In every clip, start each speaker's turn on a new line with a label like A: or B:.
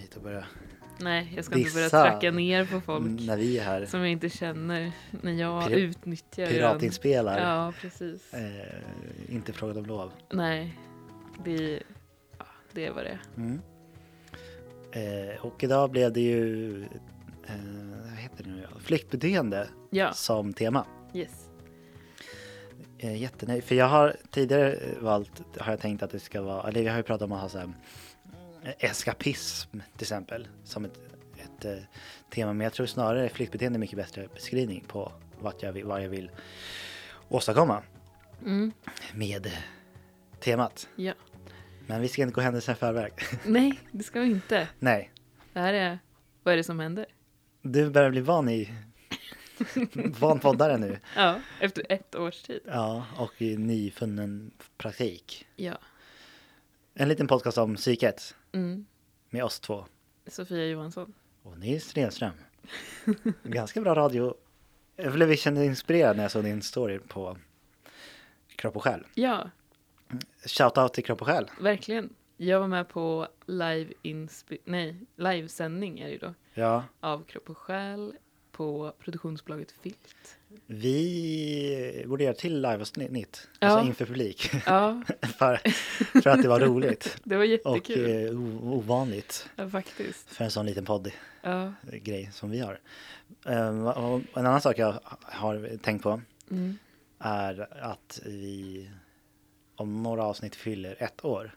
A: inte börja
B: Nej, jag ska inte börja
A: Dissa.
B: tracka ner på folk
A: när vi är här.
B: som jag inte känner när jag
A: Mm. Pir-
B: utnyttjar den.
A: Piratinspelare.
B: Ja, precis.
A: Eh, inte frågat om lov.
B: Nej, det, ja, det är vad det är.
A: Mm. Eh, och idag blev det ju eh, vad heter det nu? flyktbeteende
B: Ja,
A: som tema.
B: yes.
A: Eh, jättenöjd, för jag har tidigare valt, har jag tänkt att det ska vara, eller jag har ju pratat om att ha så här, eh, eskapism till exempel som ett, ett eh, tema. Men jag tror snarare flyktbeteende är mycket bättre beskrivning på vad jag vill, vad jag vill åstadkomma
B: Mm,
A: med temat.
B: ja.
A: Men vi ska inte gå händelserna i förväg.
B: Nej, det ska vi inte.
A: Nej,
B: Det här är, vad är det som händer?
A: du börjar bli van i van poddare nu.
B: Ja, efter ett års tid.
A: Ja, och i nyfunnen praktik.
B: Ja.
A: En liten podcast om psyket
B: Mm.
A: med oss två
B: Sofia Johansson.
A: och Nils Stenström. Ganska bra radio. Jag blev kände inspirerad när jag såg din story på Kropp och Själ.
B: Ja,
A: Shoutout till Kropp och Själ.
B: verkligen. Jag var med på live inspi- nej, livesändning är det ju då.
A: Ja,
B: Av Kropp och Själ på produktionsbolaget Filt.
A: vi borde göra till liveavsnitt,
B: Ja.
A: alltså inför publik,
B: Ja,
A: för, för att det var roligt
B: det var
A: och
B: jättekul.
A: eh, o- ovanligt
B: Ja, faktiskt.
A: för en sån liten podd.
B: Ja.
A: grej som vi har. Ehm, och En annan sak jag har tänkt på
B: Mm.
A: är att vi om några avsnitt fyller ett år.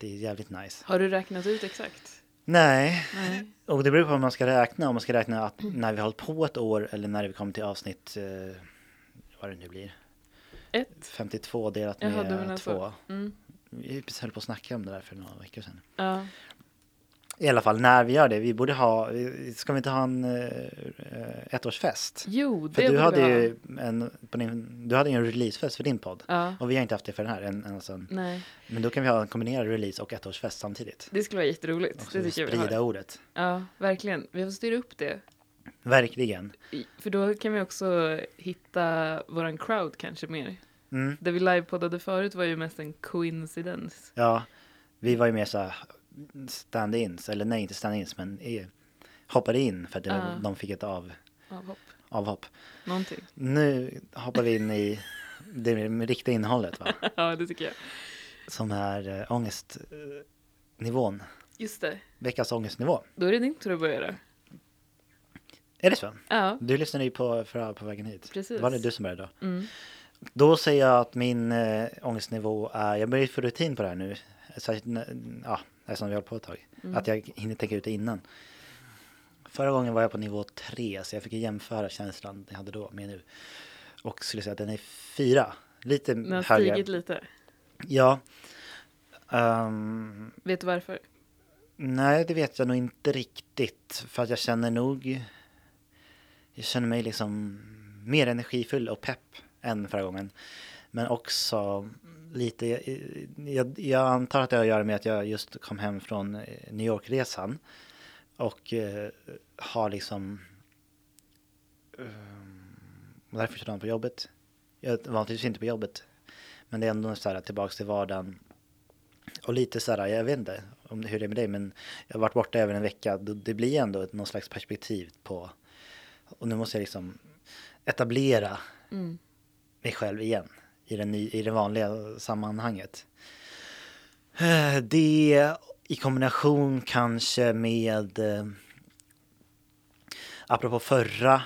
A: Det är jävligt nice.
B: Har du räknat ut exakt?
A: Nej,
B: Nej.
A: och det beror på hur man ska räkna. Om man ska räkna att
B: Mm.
A: när vi har hållit på ett år eller när vi kommer till avsnitt, eh, vad det nu blir,
B: Ett?
A: 52 delat
B: Jaha, du
A: med
B: menar så.
A: två.
B: Mm.
A: Vi höll på att snacka om det där för några veckor sedan.
B: Ja.
A: I alla fall när vi gör det, vi borde ha, ska vi inte ha en eh, ettårsfest?
B: Jo, det
A: För du
B: borde
A: hade,
B: vi ha.
A: ju en, på din, du hade ju en releasefest för din podd.
B: Ja.
A: Och vi har inte haft det för den här. En, en, alltså en,
B: Nej,
A: men då kan vi ha en kombinerad release och ettårsfest samtidigt.
B: det skulle vara jätteroligt.
A: Och
B: det
A: så
B: tycker jag vi har.
A: sprida ordet.
B: Ja, verkligen. Vi får styra upp det.
A: Verkligen.
B: I- För då kan vi också hitta våran crowd kanske mer.
A: Mm.
B: Det vi livepoddade förut var ju mest en coincidens.
A: Ja, vi var ju mer så här stand-ins, eller nej inte stand-ins men eh, hoppade in för att det,
B: Ja.
A: de fick ett av,
B: Avhopp.
A: avhopp.
B: Någonting.
A: Nu hoppar vi in i det med riktiga innehållet va?
B: Ja, det tycker jag.
A: Som är äh, ångestnivån,
B: Just det.
A: veckans ångestnivå.
B: Då är det din tur att börja då.
A: Är det så?
B: Ja.
A: Du lyssnade ju på förra på vägen hit.
B: Precis.
A: Var det du som började då?
B: Mm.
A: Då säger jag att min eh, ångestnivå är, jag börjar ju få rutin på det här nu, särskilt när- ja, eftersom vi har hållit på ett tag,
B: Mm.
A: att jag hinner tänka ut det innan. Förra gången var jag på nivå 3, så jag fick ju jämföra känslan jag hade då med nu. Och skulle säga att den är 4, lite
B: Den har
A: högre.
B: stigit lite.
A: Ja. Ehm,
B: Vet du varför?
A: Nej, det vet jag nog inte riktigt. För att jag känner nog... Jag känner mig liksom mer energifull och pepp än förra gången. Men också lite... Jag, jag antar att det har att göra med att jag just kom hem från eh, New York-resan. Och eh, har liksom... Um, därför körde jag på jobbet. Jag var naturligtvis inte på jobbet. Men det är ändå så här tillbaks till vardagen. Och lite så här, jag vet inte om det, hur det är med dig, men jag har varit borta över en vecka. Då- Det blir ändå ett, någon slags perspektiv på, och nu måste jag liksom etablera
B: Mm.
A: mig själv igen i, den ny, i det vanliga sammanhanget. Eh, Det i kombination kanske med, eh, apropå förra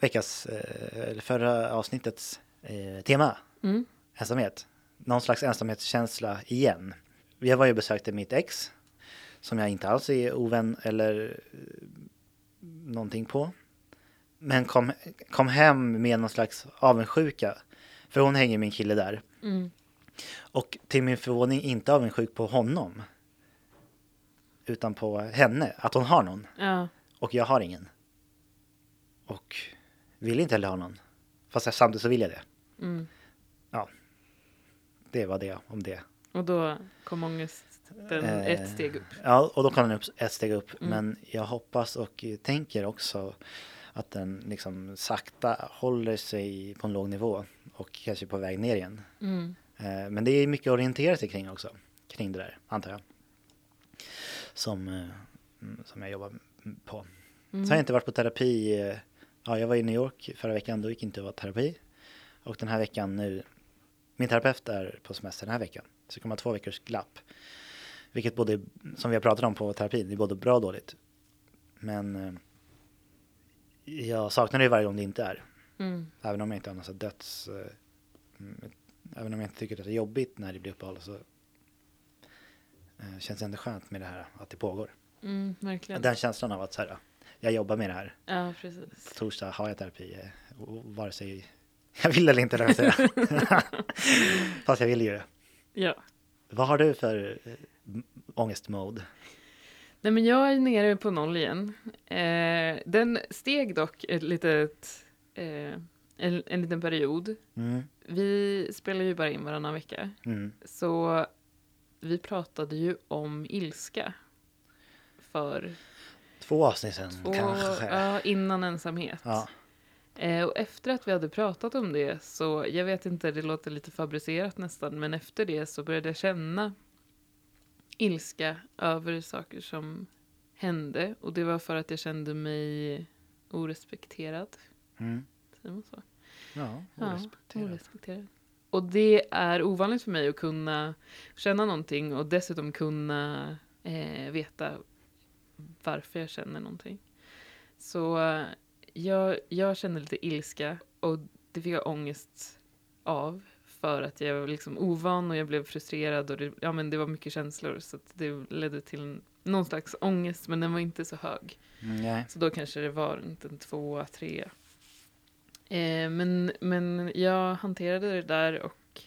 A: veckas, eh, eller förra avsnittets eh, tema,
B: Mm.
A: ensamhet. Någon slags ensamhetskänsla igen. Jag var ju och besökte mitt ex. Som jag inte alls är ovän eller eh, någonting på. Men kom, kom hem med någon slags avundsjuka. För hon hänger med en kille där.
B: Mm.
A: Och till min förvåning inte avundsjuk på honom. Utan på henne. Att hon har någon.
B: Ja.
A: Och jag har ingen. Och vill inte heller ha någon. Fast jag- samtidigt så vill jag det.
B: Mm.
A: Det var det om det.
B: Och då kom ångesten
A: Eh,
B: ett steg upp.
A: Ja, och då kan den upp ett steg upp.
B: Mm.
A: Men jag hoppas och eh, tänker också att den liksom sakta håller sig på en låg nivå och kanske på väg ner igen.
B: Mm.
A: Eh, Men det är mycket att orientera sig kring också, kring det där, antar jag. som, eh, mm, som jag jobbar på. Så har jag inte varit på terapi. eh, Ja, jag var i New York förra veckan, då gick inte jag på terapi. Och den här veckan nu, min terapeut är på semester den här veckan. Så det kommer vara två veckors glapp. Vilket både, som vi har pratat om på terapin, det är både bra och dåligt. Men eh, jag saknar det ju varje gång det inte är.
B: Mm.
A: Även om jag inte har någon så här döds... eh, mm, Även om jag inte tycker att det är jobbigt när det blir uppehåll så eh, känns det ändå skönt med det här att det pågår.
B: Mm, verkligen.
A: Den känslan av att så här, jag jobbar med det här.
B: Ja,
A: På
B: precis.
A: torsdag har jag terapi, eh, och- och vare sig jag vill eller inte. höll jag på att säga. Fast jag vill ju det.
B: Ja.
A: Vad har du för eh, m- ångestmode?
B: Nej, men jag är nere på noll igen. Eh, den steg dock ett litet, eh, en, en liten period.
A: Mm,
B: Vi spelar ju bara in varannan vecka.
A: mm,
B: Så vi pratade ju om ilska. För
A: Två avsnitt sen
B: två,
A: kanske.
B: ja, innan ensamhet.
A: Ja.
B: Eh, och efter att vi hade pratat om det så, jag vet inte, det låter lite fabricerat nästan, men efter det så började jag känna ilska över saker som hände. Och det var för att jag kände mig orespekterad.
A: Mm.
B: Säger man så?
A: Ja,
B: Ja,
A: orespekterad.
B: orespekterad. Och det är ovanligt för mig att kunna känna någonting och dessutom kunna eh, veta varför jag känner någonting. Så eh, jag, jag kände lite ilska och det fick jag ångest av för att jag var liksom ovan och jag blev frustrerad och det, ja, men det var mycket känslor så att det ledde till en- någon slags ångest men den var inte så hög.
A: Mm, nej.
B: Så då kanske det var inte en tvåa, trea. Eh, men, men jag hanterade det där och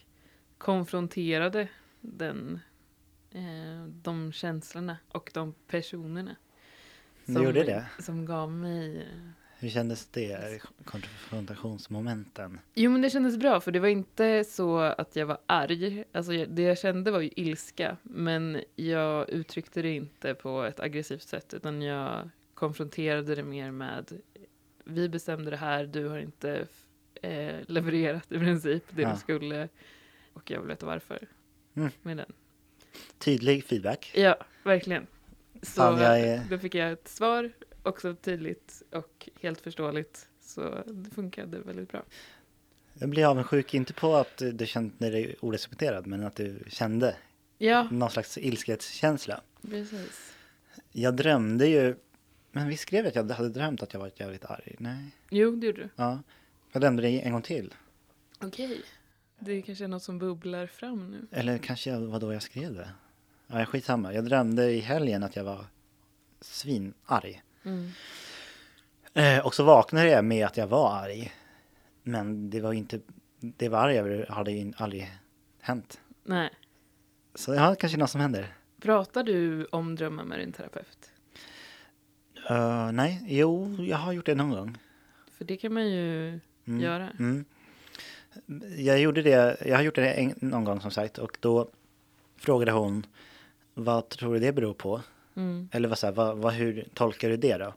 B: konfronterade den, eh, de känslorna och de personerna.
A: Du gjorde det?
B: Som gav mig... eh,
A: Hur kändes det? Konfrontationsmomenten?
B: Jo men det kändes bra för det var inte så att jag var arg. Alltså jag, det jag kände var ju ilska. Men jag uttryckte det inte på ett aggressivt sätt utan jag konfronterade det mer med vi bestämde det här, du har inte eh, levererat i princip det
A: Ja.
B: du skulle och jag vill veta varför.
A: Mm.
B: Med den.
A: Tydlig feedback.
B: Ja, verkligen. Så
A: Fan, jag är-
B: då fick jag ett svar, också tydligt och helt förståeligt. Så det funkade väldigt bra.
A: Jag blir avundsjuk, inte på att du kände dig orespekterad, men att du kände
B: Ja,
A: någon slags ilskethetskänsla.
B: precis.
A: Jag drömde ju, men vi skrev att jag hade drömt att jag var jävligt arg. Nej,
B: Jo, det gjorde du.
A: ja. Jag drömde det en gång till.
B: Okej. Det kanske är något som bubblar fram nu.
A: Eller kanske jag, var då jag skrev det. Ja, jag skitsamma. Jag drömde i helgen att jag var svinarg. Eh, och så vaknade jag med att jag var arg. Men det var ju inte, det var arg över hade ju aldrig hänt.
B: Nej.
A: Så ja, kanske något som händer.
B: Pratar du om drömmar med din terapeut?
A: Eh, nej, jo, jag har gjort det någon gång.
B: För det kan man ju göra.
A: Mm. Jag gjorde det, jag har gjort det en, någon gång som sagt och då frågade hon vad tror du det beror på?
B: Mm.
A: Eller vad, så här, vad, vad, hur tolkar du det då?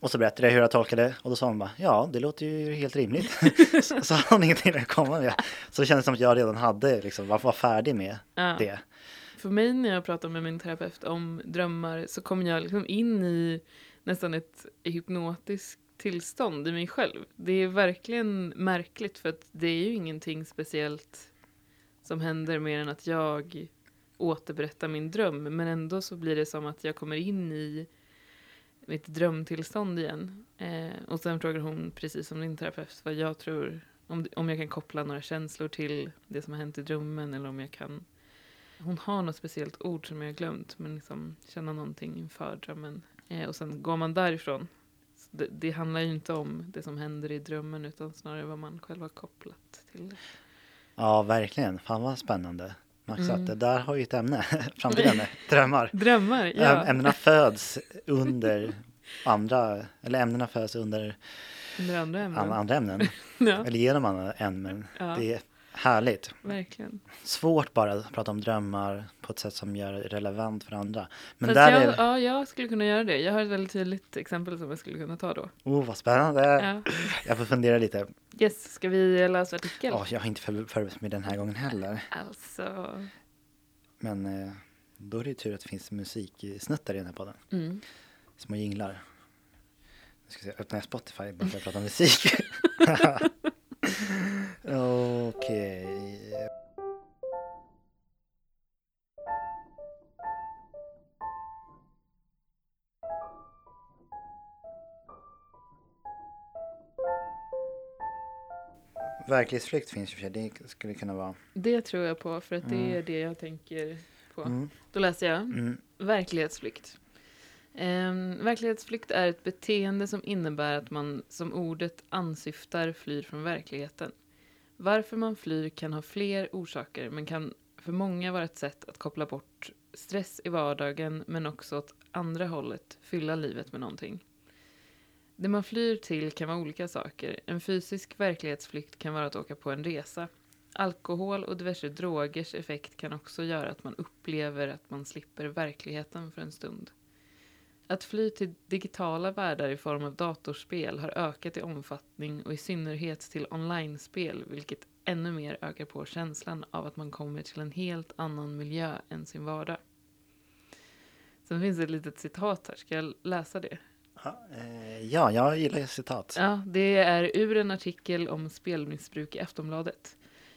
A: Och så berättade jag hur jag tolkade det och då sa hon bara ja, det låter ju helt rimligt. så, så har hon ingenting att komma med. Så det kändes som att jag redan hade, liksom, var, var färdig med
B: Ja.
A: det.
B: För mig när jag pratar med min terapeut om drömmar så kommer jag liksom in i nästan ett hypnotiskt tillstånd i mig själv. Det är verkligen märkligt för att det är ju ingenting speciellt som händer mer än att jag återberättar min dröm. Men ändå så blir det som att jag kommer in i mitt drömtillstånd igen. Eh, och sen frågar hon, precis som din terapeut, vad jag tror, om, om jag kan koppla några känslor till det som har hänt i drömmen eller om jag kan hon har något speciellt ord som jag har glömt, men liksom känna någonting inför drömmen. Eh, och sen går man därifrån. Så det, det handlar ju inte om det som händer i drömmen utan snarare vad man själv har kopplat till det.
A: Ja, verkligen. Fan vad spännande. Max, att det där har ju ett ämne, framtidande, drömmar.
B: Drömmar, ja.
A: Äm- Ämnena föds under andra, eller ämnena föds under
B: Under andra
A: an-
B: ämnen.
A: andra ämnen.
B: Ja,
A: Eller genom andra ämnen.
B: Ja.
A: Det är härligt.
B: verkligen.
A: Svårt bara att prata om drömmar på ett sätt som gör det relevant för andra. Men
B: Fast
A: där
B: jag,
A: är...
B: ja, jag skulle kunna göra det. Jag har ett väldigt tydligt exempel som jag skulle kunna ta då.
A: Oh, vad spännande!
B: Ja.
A: Jag får fundera lite.
B: Yes, ska vi läsa artikel?
A: Åh, jag har inte för- förberett mig den här gången heller.
B: Alltså,
A: Men eh, Då är det ju tur att det finns musiksnuttar i den här podden.
B: Mm.
A: Små jinglar. Nu ska vi se, öppnar jag Spotify bara för att prata om musik? Okej. Verklighetsflykt finns ju för sig. Det skulle kunna vara...
B: Det tror jag på, för att det är det jag tänker på.
A: Mm.
B: Då läser jag.
A: Mm.
B: Verklighetsflykt. Ehm, verklighetsflykt är ett beteende som innebär att man, som ordet ansyftar, flyr från verkligheten. Varför man flyr kan ha fler orsaker, men kan för många vara ett sätt att koppla bort stress i vardagen, men också åt andra hållet, fylla livet med någonting. Det man flyr till kan vara olika saker. En fysisk verklighetsflykt kan vara att åka på en resa. Alkohol och diverse drogers effekt kan också göra att man upplever att man slipper verkligheten för en stund. Att fly till digitala världar i form av datorspel har ökat i omfattning och i synnerhet till online-spel vilket ännu mer ökar på känslan av att man kommer till en helt annan miljö än sin vardag. Sen finns det ett litet citat här, ska jag läsa det?
A: Ja, eh, Ja, jag gillar ju citat.
B: Ja, det är ur en artikel om spelmissbruk i Aftonbladet.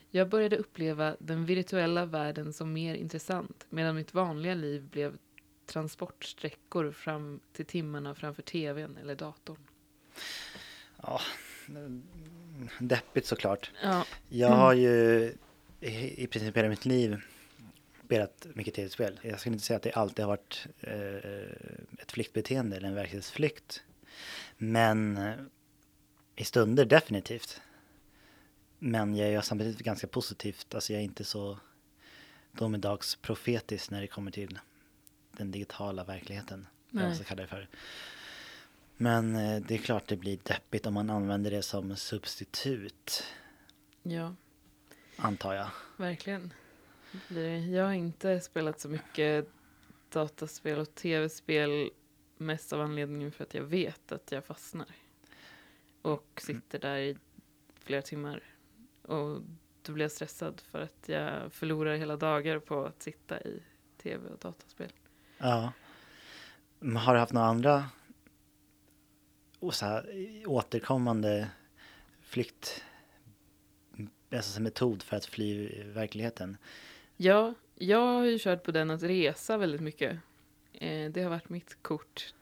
B: Jag började uppleva den virtuella världen som mer intressant medan mitt vanliga liv blev transportsträckor fram till timmarna framför tvn eller datorn.
A: Ja, deppigt såklart.
B: Ja,
A: Jag har ju i, i princip hela mitt liv spelat mycket tv-spel. Jag skulle inte säga att det alltid har varit eh, ett flyktbeteende eller en verklighetsflykt. Men eh, i stunder definitivt. Men jag är samtidigt ganska positivt. Alltså jag är inte så domedagsprofetisk när det kommer till den digitala verkligheten. Vad man
B: Nej.
A: ska kalla det för. Men eh, det är klart det blir deppigt om man använder det som substitut.
B: ja
A: Antar jag.
B: verkligen. Blir det- Jag har inte spelat så mycket dataspel och tv-spel mest av anledningen för att jag vet att jag fastnar. Och sitter där i flera timmar. Och då blir jag stressad för att jag förlorar hela dagar på att sitta i tv och dataspel.
A: Ja. Men har du haft några andra och så här, återkommande flykt, alltså som metod för att fly verkligheten?
B: Ja, jag har ju kört på den att resa väldigt mycket. Eh, det har varit mitt kort.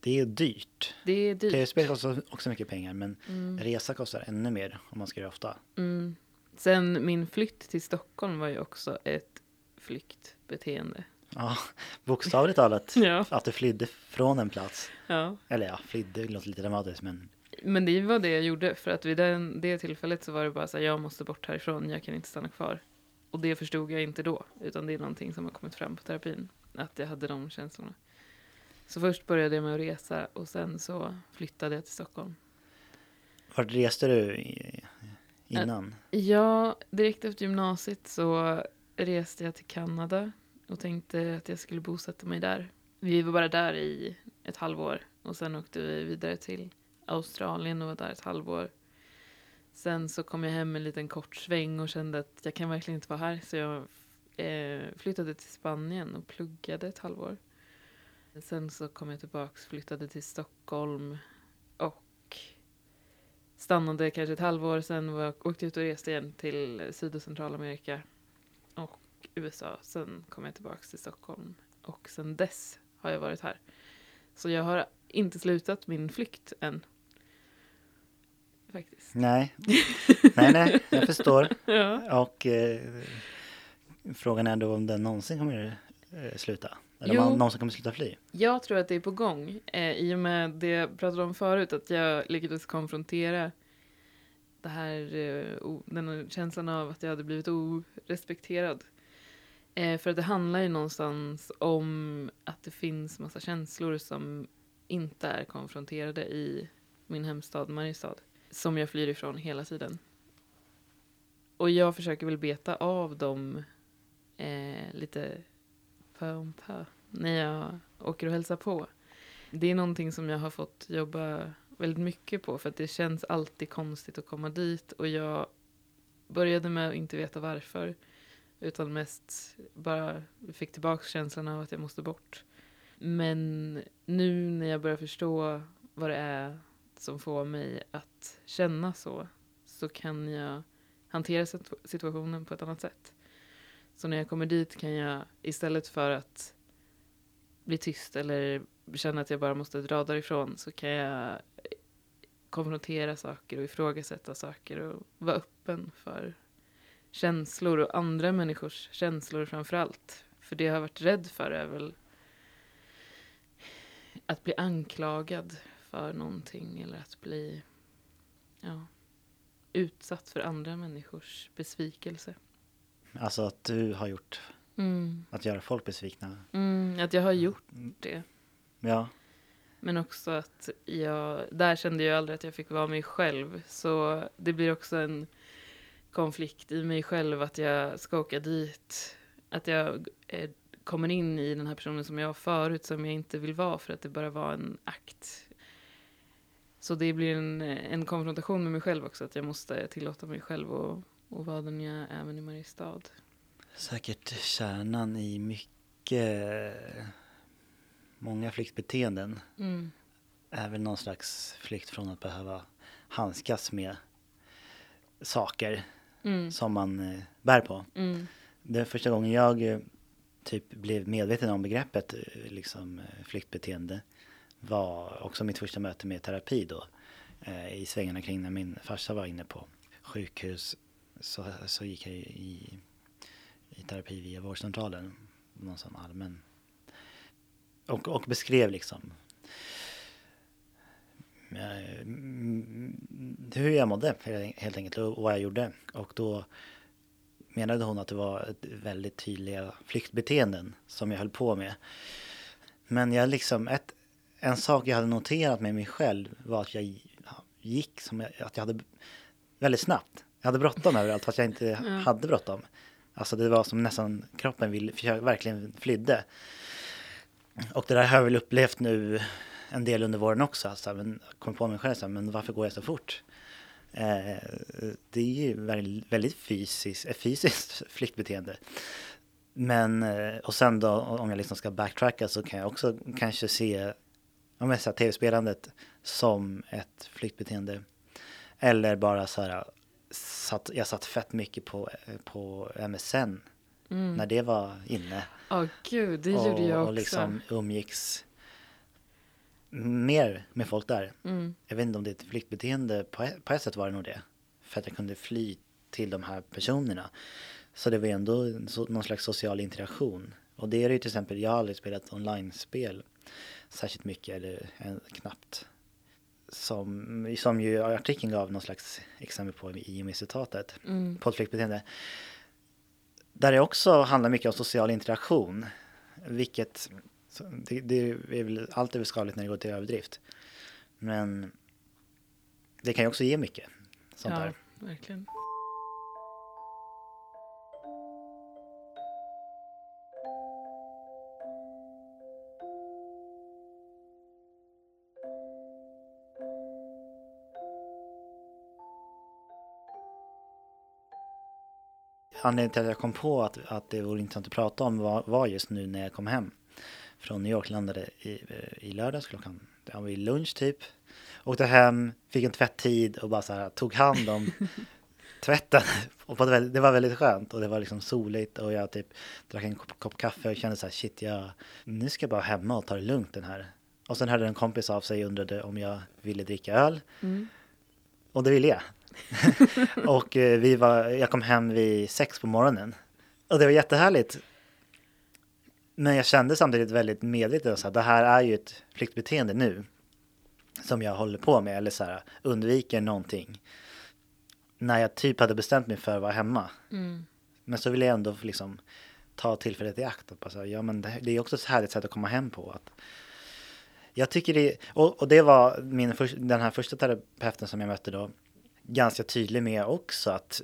A: Det är dyrt.
B: Det är dyrt.
A: Tv-spel kostar också mycket pengar, men
B: Mm.
A: resa kostar ännu mer om man ska göra ofta.
B: Mm. Sen min flytt till Stockholm var ju också ett flyktbeteende.
A: Ja, bokstavligt talat.
B: Ja.
A: Att du flydde från en plats.
B: ja.
A: Eller ja, flydde låter lite dramatiskt, men
B: Men det var det jag gjorde för att vid den, det tillfället så var det bara så här, jag måste bort härifrån, jag kan inte stanna kvar. Och det förstod jag inte då, utan det är någonting som har kommit fram på terapin, att jag hade de känslorna. Så först började jag med att resa och sen så flyttade jag till Stockholm.
A: vart reste du i- innan?
B: Ja, direkt efter gymnasiet så reste jag till Kanada och tänkte att jag skulle bosätta mig där. Vi var bara där i ett halvår och sen åkte vi vidare till Australien och var där ett halvår. Sen så kom jag hem en liten kort sväng och kände att jag kan verkligen inte vara här så jag eh, flyttade till Spanien och pluggade ett halvår. Sen så kom jag tillbaks, flyttade till Stockholm och Stannade kanske ett halvår, sen var jag, åkte jag ut och reste igen till Syd och Centralamerika och USA. Sen kom jag tillbaka till Stockholm och sen dess har jag varit här. Så jag har inte slutat min flykt än. Faktiskt.
A: Nej, nej, nej, jag förstår.
B: Ja.
A: Och eh, frågan är då om den någonsin kommer eh, sluta. Eller
B: Jo.
A: om man någonsin kommer sluta fly.
B: Jag tror att det är på gång eh, i och med det jag pratade om förut, att jag lyckades konfrontera det här, eh, o- den här känslan av att jag hade blivit orespekterad. Eh, för att det handlar ju någonstans om att det finns massa känslor som inte är konfronterade i min hemstad Mariestad, som jag flyr ifrån hela tiden. Och jag försöker väl beta av dem eh, lite pö om pö när jag åker och hälsar på. Det är någonting som jag har fått jobba väldigt mycket på för att det känns alltid konstigt att komma dit och jag började med att inte veta varför. Utan mest bara fick tillbaka känslan av att jag måste bort. Men nu när jag börjar förstå vad det är som får mig att känna så, så kan jag hantera situ- situationen på ett annat sätt. Så när jag kommer dit kan jag istället för att bli tyst eller känna att jag bara måste dra därifrån så kan jag konfrontera saker och ifrågasätta saker och vara öppen för känslor och andra människors känslor framför allt. För det jag har varit rädd för är väl att bli anklagad för någonting eller att bli ja, utsatt för andra människors besvikelse.
A: Alltså att du har gjort, att göra folk besvikna.
B: Mm, att jag har gjort det.
A: Ja,
B: Men också att jag, där kände jag aldrig att jag fick vara mig själv. Så det blir också en konflikt i mig själv att jag ska åka dit. Att jag eh, kommer in i den här personen som jag var förut som jag inte vill vara för att det bara var en akt. Så det blir en, en konfrontation med mig själv också. Att jag måste tillåta mig själv att att vara den jag är även i Mariestad.
A: säkert kärnan i mycket, många flyktbeteenden.
B: Mm.
A: är väl någon slags flykt från att behöva handskas med saker
B: Mm.
A: som man eh, bär på.
B: Mm.
A: Det är första gången jag eh, typ blev medveten om begreppet eh, liksom, eh, flyktbeteende var också mitt första möte med terapi då eh, i svängarna kring när min farsa var inne på sjukhus så, så gick jag ju i, i terapi via vårdcentralen, någon sån allmän. Och, och beskrev liksom eh, m- hur jag mådde helt- helt enkelt och vad jag gjorde. Och då menade hon att det var ett väldigt tydliga flyktbeteenden som jag höll på med. Men jag liksom, ett, en sak jag hade noterat med mig själv var att jag gick som jag, att jag hade väldigt snabbt. Jag hade bråttom överallt fast jag inte hade bråttom. Alltså det var som nästan kroppen vill, för jag verkligen flydde. Och det där har jag väl upplevt nu en del under våren också. Alltså, men jag kom på mig själv så här, men varför går jag så fort? Eh, det är ju väl- väldigt fysiskt, ett fysiskt flyktbeteende. Men, eh, och sen då om jag liksom ska backtracka så kan jag också kanske se om jag säger tv-spelandet som ett flyktbeteende. Eller bara så här, satt, jag satt fett mycket på, på MSN
B: Mm.
A: när det var inne
B: Åh, gud, det gjorde jag också.
A: och liksom umgicks mer med folk där.
B: mm.
A: Jag vet inte om det är ett flyktbeteende, på ett, på ett sätt var det nog det. För att jag kunde fly till de här personerna. Så det var ju ändå en so- någon slags social interaktion. Och det är det ju till exempel, jag har aldrig spelat online-spel särskilt mycket eller eh, knappt. Som, som ju artikeln gav någon slags exempel på i och med citatet
B: Mm.
A: poddflyktbeteende. Där det också handlar mycket om social interaktion. Vilket, så det, det är väl, allt är väl skadligt när det går till överdrift. Men det kan ju också ge mycket. Sånt
B: ja,
A: där.
B: verkligen.
A: Anledningen till att jag kom på att, att det vore intressant att prata om var, var just nu när jag kom hem. Från New York, landade i, eh, i lördags klockan, ja, vid lunch typ. Åkte hem, fick en tvätttid och bara så här, tog hand om tvätten. Och på ett väldigt, det var väldigt skönt och det var liksom soligt och jag typ drack en kopp, kopp kaffe och kände så här shit, jag, nu ska jag bara hemma och ta det lugnt den här. Och sen hörde en kompis av sig och undrade om jag ville dricka öl.
B: Mm.
A: Och det ville jag. och eh, vi var, jag kom hem vid sex på morgonen. Och det var jättehärligt. Men jag kände samtidigt väldigt medveten så att det här är ju ett flyktbeteende nu. Som jag håller på med eller så här undviker någonting. När jag typ hade bestämt mig för att vara hemma.
B: Mm.
A: Men så ville jag ändå liksom ta tillfället i akt. Och bara så här, ja, men det, det är också ett härligt sätt att komma hem på. Att jag tycker det, och, och det var min först, den här första terapeuten som jag mötte då ganska tydlig med också att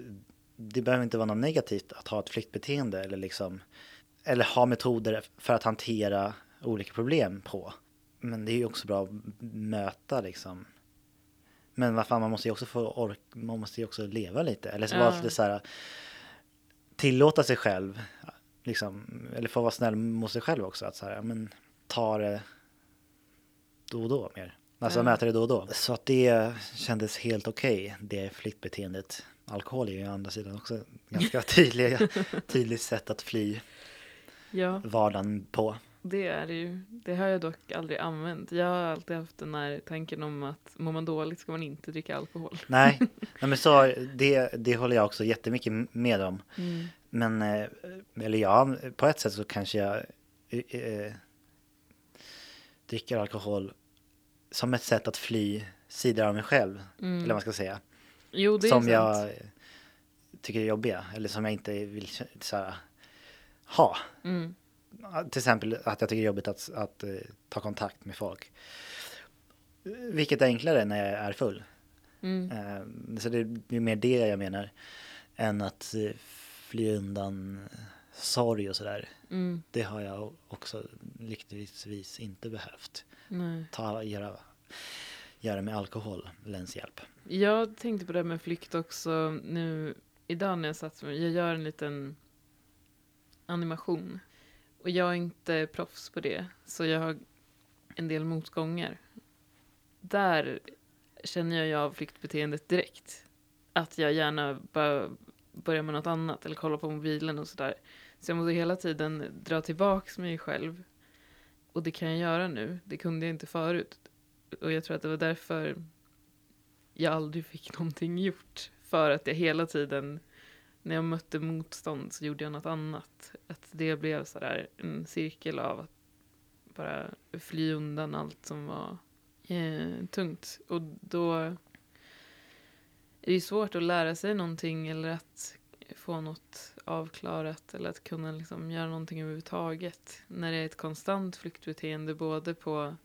A: det behöver inte vara något negativt att ha ett flyktbeteende eller liksom eller ha metoder för att hantera olika problem på. Men det är ju också bra att möta liksom. Men vad fan, man måste ju också få ork, man måste ju också leva lite. Eller så
B: Ja.
A: var det så här, tillåta sig själv, liksom, eller få vara snäll mot sig själv också. Att så här, ja, men, ta det då och då mer. Alltså
B: Ja.
A: mäta det då och då. Så att det kändes helt okej, det flyktbeteendet. Alkohol är ju å andra sidan också ett ganska tydlig, tydligt sätt att fly
B: Ja,
A: vardagen på.
B: det är det ju. Det har jag dock aldrig använt. Jag har alltid haft den här tanken om att mår man dåligt ska man inte dricka alkohol.
A: Nej, Nej men så, det, det håller jag också jättemycket med om.
B: Mm.
A: Men, eh, eller ja, på ett sätt så kanske jag eh, eh, dricker alkohol som ett sätt att fly sidor av mig själv, eller vad man ska säga.
B: Jo, det är
A: som
B: sant.
A: jag tycker är jobbiga, eller som jag inte vill så här, ha.
B: Mm.
A: Till exempel att jag tycker det är jobbigt att, att eh, ta kontakt med folk. Vilket är enklare när jag är full.
B: Mm.
A: Eh, Så det är mer det jag menar. Än att eh, fly undan eh, sorg och sådär.
B: Mm.
A: Det har jag också lyckligtvis inte behövt.
B: Nej.
A: Ta, göra, göra med alkoholens hjälp.
B: Jag tänkte på det här med flykt också nu idag när jag satt mig. Jag gör en liten animation. Och jag är inte proffs på det, så jag har en del motgångar. Där känner jag ju av flyktbeteendet direkt. Att jag gärna bara börjar med något annat eller kollar på mobilen och sådär. Så jag måste hela tiden dra tillbaks mig själv. Och det kan jag göra nu. Det kunde jag inte förut. Och jag tror att det var därför jag aldrig fick någonting gjort. För att jag hela tiden, när jag mötte motstånd så gjorde jag något annat. Att det blev sådär en cirkel av att bara fly undan allt som var eh, tungt. Och då är det ju svårt att lära sig någonting eller att få något avklarat eller att kunna liksom göra någonting överhuvudtaget. När det är ett konstant flyktbeteende både på,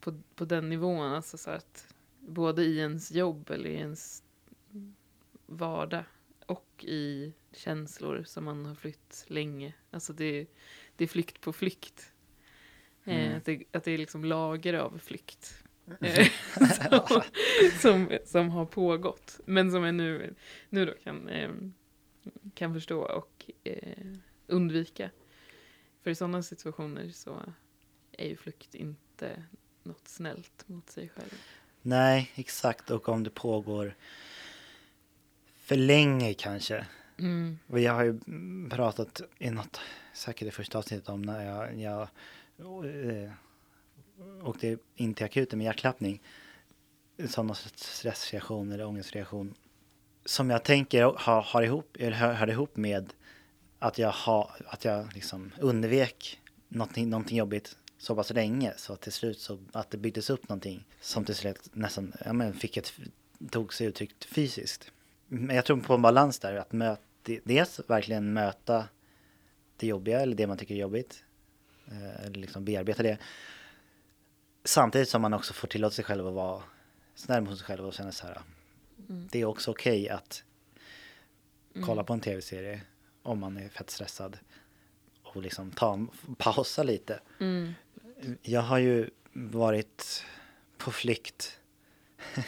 B: på, på den nivån, alltså så att både i ens jobb eller i ens vardag och i känslor som man har flytt länge. Alltså det, det är flykt på flykt. Eh,
A: Mm.
B: Att, det, att det är liksom lager av flykt. Eh, som, som, som har pågått. Men som jag nu, nu då kan, eh, kan förstå och eh, undvika. För i sådana situationer så är ju flykt inte något snällt mot sig själv.
A: Nej, exakt. Och om det pågår för länge kanske.
B: Mm.
A: Och jag har ju pratat i något, säkert i första avsnittet om när jag, jag eh, åkte in till akuten med hjärtklappning. Sådana stressreaktion eller ångestreaktion. Som jag tänker har, har ihop, eller hör, hör ihop med att jag, ha, att jag liksom undvek någonting, någonting jobbigt så pass länge så att till slut så att det byggdes upp någonting som till slut nästan ja, men fick ett, tog sig uttryckt fysiskt. Men jag tror på en balans där, att möta, dels verkligen möta det jobbiga eller det man tycker är jobbigt, eh, eller liksom bearbeta det. Samtidigt som man också får tillåta sig själv att vara snäll mot sig själv och känna så här, det är också okej att kolla på en tv-serie om man är fett stressad och liksom ta, en- pausa lite.
B: Mm.
A: Jag har ju varit på flykt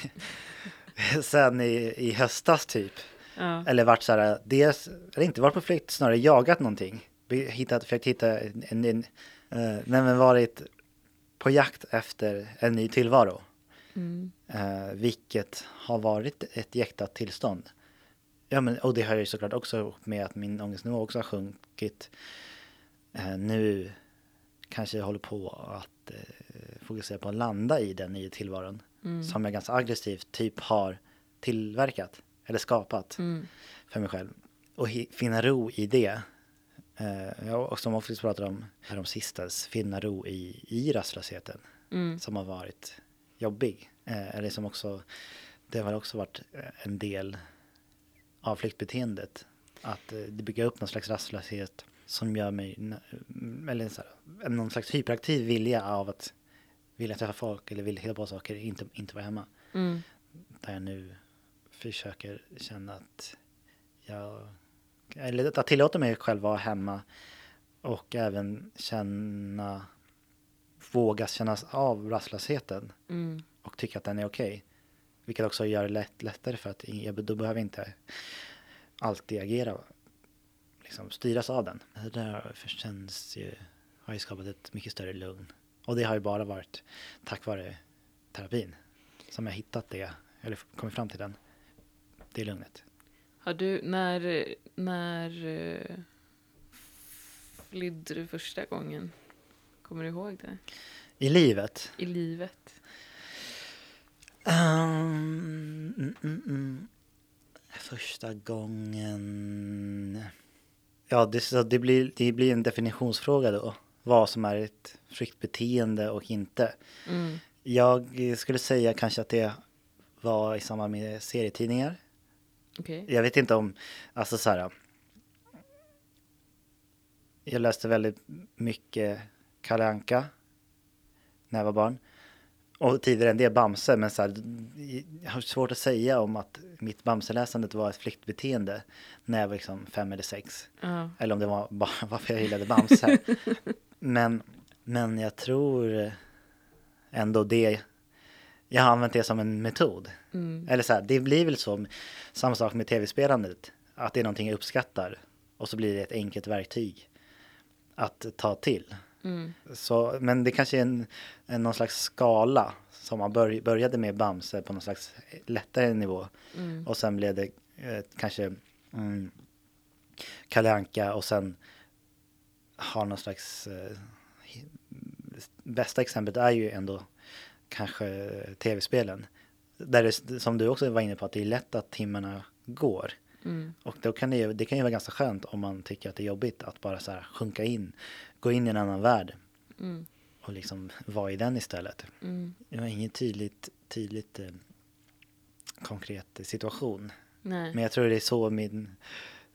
A: sen i, i höstas typ.
B: Ja.
A: Eller varit så här, dels, eller inte varit på flykt, snarare jagat någonting. Vi Hittat, försökt hitta en, en, en eh, nej men varit på jakt efter en ny tillvaro.
B: Mm.
A: Eh, vilket har varit ett jäktat tillstånd. Ja, men, och det hör ju såklart också ihop med att min ångestnivå också har sjunkit. Eh, nu kanske jag håller på att eh, fokusera på att landa i den nya tillvaron
B: Mm.
A: som jag ganska aggressivt typ har tillverkat eller skapat
B: Mm.
A: för mig själv. Och hi- finna ro i det. Eh, ja, och som Office pratade om härom sistens, finna ro i, i rastlösheten
B: Mm.
A: som har varit jobbig. Eh, eller som också, det har väl också varit eh, en del av flyktbeteendet. Att eh, det bygger upp någon slags rastlöshet som gör mig, n- mm, eller så här, någon slags hyperaktiv vilja av att vilja träffa folk eller vilja hitta på saker, inte, inte vara hemma.
B: Mm.
A: Där jag nu försöker känna att jag, eller att jag tillåter mig själv vara hemma och även känna, våga känna av rastlösheten
B: Mm.
A: och tycka att den är okej. Vilket också gör det lätt, lättare för att jag, då behöver jag inte alltid agera liksom styras av den. Det där känns ju, har ju skapat ett mycket större lugn. Och det har ju bara varit tack vare terapin som jag hittat det, eller kommit fram till den, det lugnet.
B: Har du, när, när eh, flydde du första gången? Kommer du ihåg det?
A: I livet?
B: I livet?
A: Ehm, mm, mm, mm. Första gången... Ja, det, så det, blir, det blir en definitionsfråga då. Vad som är ett flyktbeteende och inte.
B: Mm.
A: Jag skulle säga kanske att det var i samband med serietidningar.
B: Okej.
A: Jag vet inte om, alltså så här. Jag läste väldigt mycket Kalle Anka när jag var barn. Och tidigare än det Bamse, men så här, jag har svårt att säga om att mitt Bamseläsandet var ett flyktbeteende när jag var liksom fem eller sex.
B: Ja.
A: Eller om det var bara varför jag gillade Bamse. men, men jag tror ändå det. Jag har använt det som en metod.
B: Mm.
A: Eller så här, det blir väl så, samma sak med tv-spelandet. Att det är någonting jag uppskattar. Och så blir det ett enkelt verktyg att ta till.
B: Mm.
A: Så, men det kanske är en, en, någon slags skala. Som man bör, började med Bamse på någon slags lättare nivå.
B: Mm.
A: Och sen blev det eh, kanske mm, Kalle Anka och sen har någon slags... Eh, hi- bästa exemplet är ju ändå kanske eh, tv-spelen. Där det, som du också var inne på, att det är lätt att timmarna går.
B: Mm.
A: Och då kan det, ju- det kan ju vara ganska skönt om man tycker att det är jobbigt att bara så här sjunka in, gå in i en annan värld
B: Mm.
A: och liksom vara i den istället.
B: Mm.
A: Det var ingen tydligt, tydligt eh, konkret situation.
B: Nej.
A: Men jag tror det är så min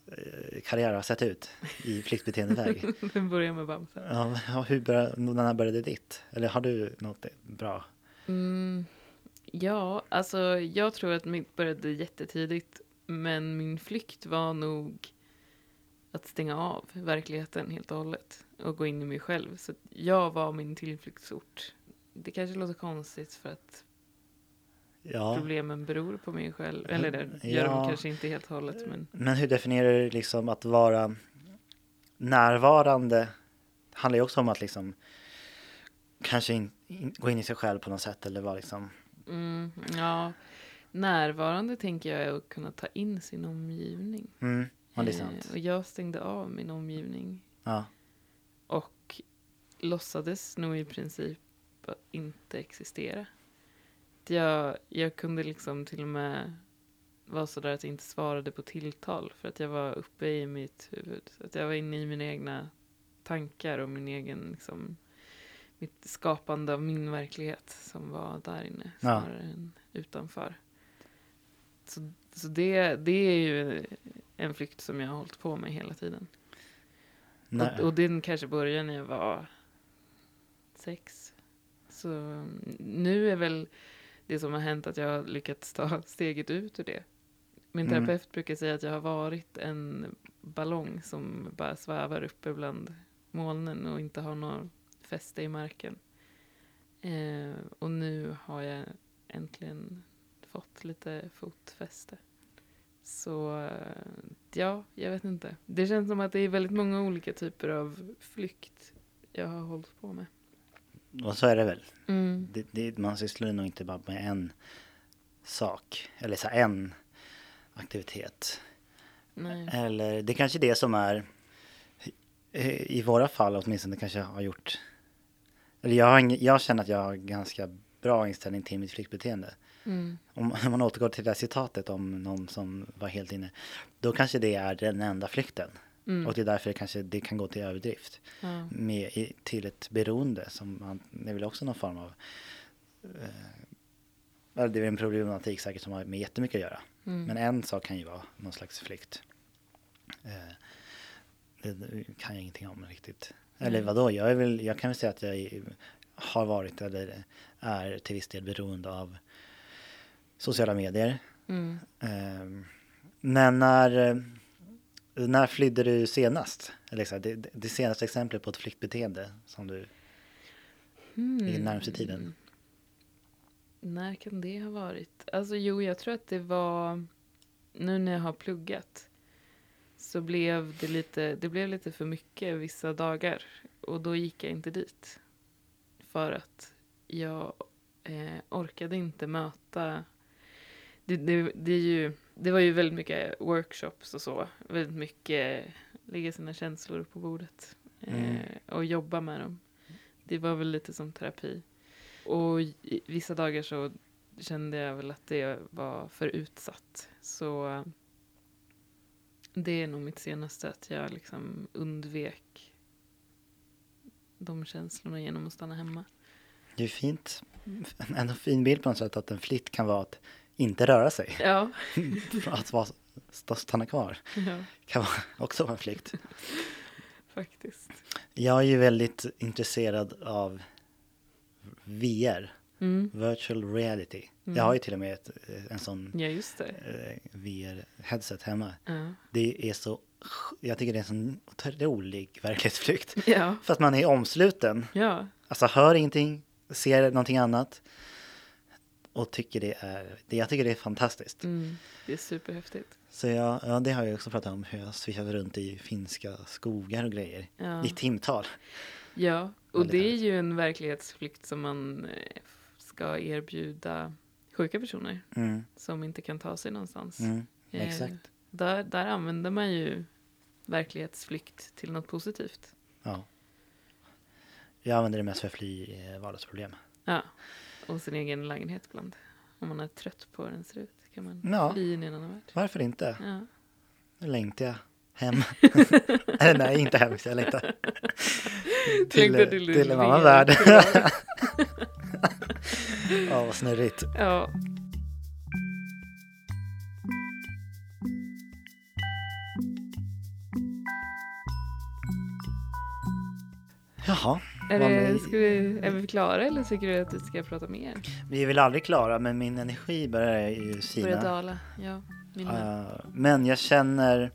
A: eh, karriär har sett ut i flyktbeteendeväg.
B: Den börjar med Bamse.
A: ja, ja, hur började, när började ditt? Eller har du något bra?
B: Mm. Ja, alltså jag tror att mitt började jättetidigt. Men min flykt var nog att stänga av verkligheten helt och hållet. Och gå in i mig själv. Så att jag var min tillflyktsort. Det kanske låter konstigt för att
A: Ja.
B: problemen beror på mig själv. Eller det
A: Ja.
B: gör de kanske inte helt och hållet. Men
A: Men hur definierar du liksom att vara närvarande? Det handlar ju också om att liksom kanske in, in, gå in i sig själv på något sätt eller vara liksom.
B: Mm, ja, närvarande tänker jag är att kunna ta in sin omgivning.
A: Mm, ja, det är
B: Eh,
A: sant.
B: Och jag stängde av min omgivning
A: Ja,
B: och låtsades nog i princip att inte existera. Att Jag, jag kunde liksom till och med vara sådär att jag inte svarade på tilltal för att jag var uppe i mitt huvud. Så Att jag var inne i mina egna tankar och min egen liksom, mitt skapande av min verklighet som var där inne
A: Ja.
B: snarare än utanför. Så, så det, det är ju en flykt som jag har hållit på med hela tiden.
A: Nej.
B: Och, och den kanske började när jag var sex. Så mm, nu är väl det som har hänt att jag har lyckats ta steget ut ur det. Min
A: Mm.
B: terapeut brukar säga att jag har varit en ballong som bara svävar uppe bland molnen och inte har något fäste i marken. Eh, och nu har jag äntligen fått lite fotfäste. Så eh, ja, jag vet inte. Det känns som att det är väldigt många olika typer av flykt jag har hållit på med.
A: och så är det väl.
B: Mm.
A: det, det, man sysslar ju nog inte bara med en sak, eller så här, en aktivitet.
B: Nej.
A: Eller det är kanske det som är, eh, i våra fall åtminstone, kanske har gjort... Eller jag, har ing- jag känner att jag har ganska bra inställning till mitt flyktbeteende.
B: Mm.
A: Om man återgår till det här citatet om någon som var helt inne, då kanske det är den enda flykten.
B: Mm.
A: Och det är därför det kanske det kan gå till överdrift
B: Ja.
A: med i, till ett beroende som man, det är väl också någon form av... Eh, eller det är väl en problematik säkert som har med jättemycket att göra.
B: Mm.
A: Men en sak kan ju vara någon slags flykt. Eh, det kan jag ingenting om riktigt. Eller
B: Nej.
A: vadå, jag, är väl, jag kan väl säga att jag är, har varit eller är till viss del beroende av sociala medier.
B: Mm.
A: Ehm, Men när, eh, när flydde du senast? Eller så här, det, det senaste exemplet på ett flyktbeteende som du ligger
B: Mm.
A: närmast i tiden.
B: När kan det ha varit? Alltså jo, jag tror att det var nu när jag har pluggat. så blev det lite, det blev lite för mycket vissa dagar. Och då gick jag inte dit. För att jag eh, orkade inte möta... Det, det, det, är ju, det var ju väldigt mycket workshops och så. Väldigt mycket lägga sina känslor på bordet eh,
A: Mm.
B: och jobba med dem. Det var väl lite som terapi. Och i- vissa dagar så kände jag väl att det var för utsatt. Så det är nog mitt senaste, att jag liksom undvek de känslorna genom att stanna hemma.
A: Det är fint. En- En fin bild på något sätt att en flytt kan vara att inte röra sig.
B: Ja,
A: Att vara, st- stanna kvar
B: ja
A: kan vara, också vara en flykt.
B: faktiskt.
A: Jag är ju väldigt intresserad av VR,
B: Mm.
A: virtual reality. Jag har ju till och med ett, eh, en sån
B: Ja, just det.
A: eh, VR-headset hemma.
B: Ja.
A: Det är så, jag tycker det är en sån otrolig verklighetsflykt.
B: Ja.
A: För att man är omsluten,
B: ja.
A: alltså hör ingenting, ser någonting annat. Och tycker det är, det- jag tycker det är fantastiskt.
B: Mm. Det är superhäftigt.
A: Så jag, ja, det har jag också pratat om, hur jag svischade runt i finska skogar och grejer.
B: Ja.
A: I timtal.
B: ja, och
A: Väldigt
B: det är
A: härligt.
B: ju en verklighetsflykt som man eh, ska erbjuda sjuka personer
A: Mm,
B: som inte kan ta sig någonstans.
A: mm,
B: Eh,
A: exakt.
B: Där, där använder man ju verklighetsflykt till något positivt.
A: Ja. Jag använder det mest för att fly eh, vardagsproblem.
B: Ja. Och sin egen lägenhet ibland. Om man är trött på hur den ser ut kan man
A: Ja.
B: fly in i en annan värld.
A: Varför inte?
B: Ja.
A: Nu längtar jag hem. Eller nej, inte hem. Jag längtar till,
B: Längtar
A: eh,
B: till din
A: till en annan
B: VR.
A: värld. Ja, vad snurrigt.
B: Ja.
A: Jaha,
B: Är,
A: Vad
B: det,
A: ni-
B: ska vi, är vi klara eller tycker du att vi ska prata mer?
A: vi är väl aldrig klara, men min energi börjar ju
B: Börja
A: sina.
B: dala. Ja, min med.
A: Eh, men jag känner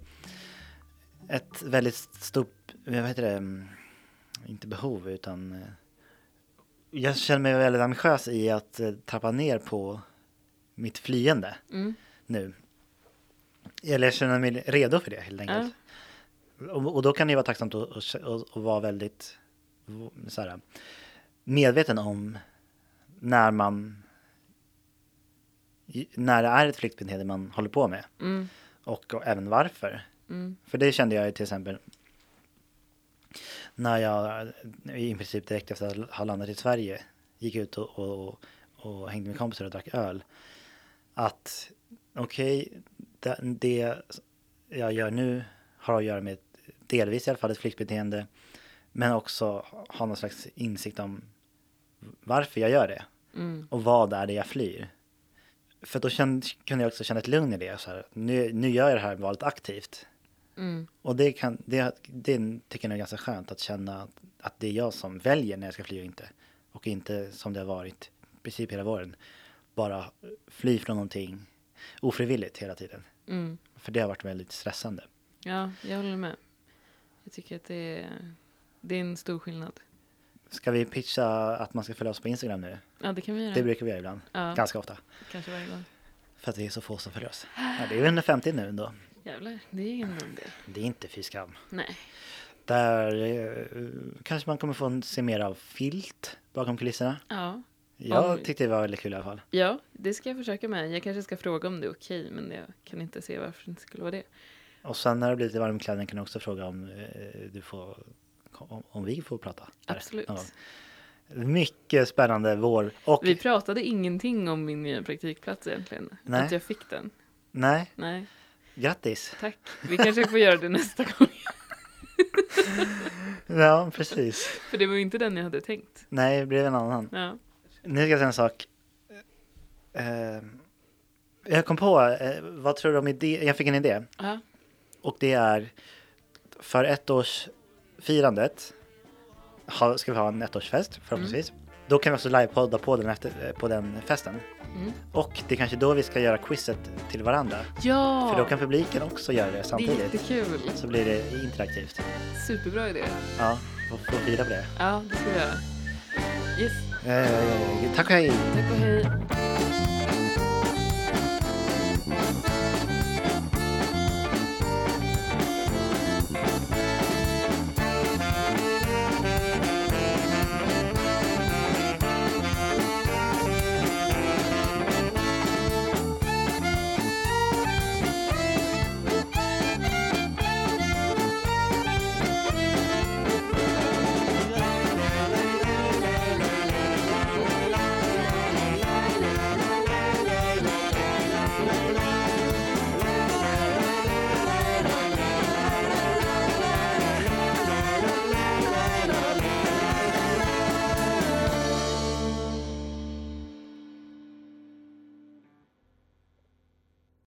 A: ett väldigt stort, vad heter det, mm, inte behov utan eh, jag känner mig väldigt ambitiös i att eh, trappa ner på mitt flyende
B: Mm.
A: nu. Eller jag känner mig redo för det helt enkelt. Och, och då kan det ju vara tacksamt att, att, att, att vara väldigt så här, medveten om när man när det är ett flyktbeteende man håller på med
B: Mm.
A: och, och även varför.
B: Mm.
A: För det kände jag ju till exempel när jag i princip direkt efter att ha landat i Sverige gick ut och, och, och hängde med kompisar och drack öl. Att okej, det, det jag gör nu har att göra med delvis i alla fall ett flyktbeteende men också ha någon slags insikt om varför jag gör det
B: Mm.
A: och vad är det jag flyr? För då kände, kunde jag också känna ett lugn i det. Så här, nu, nu gör jag det här valet aktivt.
B: Mm.
A: Och det, kan, det, det tycker jag är ganska skönt att känna att, att det är jag som väljer när jag ska fly och inte. Och inte som det har varit i princip hela våren. Bara fly från någonting ofrivilligt hela tiden.
B: Mm.
A: För det har varit väldigt stressande.
B: Ja, jag håller med. Jag tycker att det är, det är en stor skillnad.
A: Ska vi pitcha att man ska följa oss på Instagram nu?
B: Ja, det kan vi göra.
A: Det brukar vi göra ibland.
B: ja,
A: Ganska ofta.
B: Kanske varje gång.
A: För att det är så få som följer oss. Ja, det är ju under 50 nu ändå.
B: Jävlar, det är ingen dum del.
A: Det är inte fy skam.
B: Nej.
A: Där eh, kanske man kommer få se mer av filt bakom kulisserna.
B: Ja.
A: Jag
B: Oj.
A: tyckte det var väldigt kul i alla fall.
B: ja, det ska jag försöka med. Jag kanske ska fråga om det är okej, men jag kan inte se varför det inte skulle vara det.
A: Och sen när det blir lite varm i kläderna kan jag också fråga om eh, du får, om, om vi får prata. här
B: Absolut.
A: någon gång. Mycket spännande vår och
B: Vi pratade ingenting om min nya praktikplats egentligen.
A: Nej.
B: Att jag fick den.
A: nej,
B: Nej,
A: grattis.
B: tack. Vi kanske får göra det nästa gång.
A: Ja, precis.
B: För det var ju inte den jag hade tänkt.
A: Nej, det blev en annan.
B: Ja.
A: Nu ska jag säga en sak. Eh, jag kom på, eh, vad tror du om idé? Jag fick en idé.
B: Ja.
A: Och det är för ettårsfirandet ha- ska vi ha en ettårsfest förhoppningsvis. Då kan vi också livepodda på den, efter, på den festen.
B: Mm.
A: Och det är kanske då vi ska göra quizet till varandra.
B: ja.
A: För då kan publiken också göra det
B: det är
A: samtidigt.
B: jättekul.
A: Så blir det interaktivt.
B: Superbra idé.
A: Ja, och får fira på det.
B: Ja, det ska vi göra. Yes,
A: Eh, tack och hej!
B: tack och hej.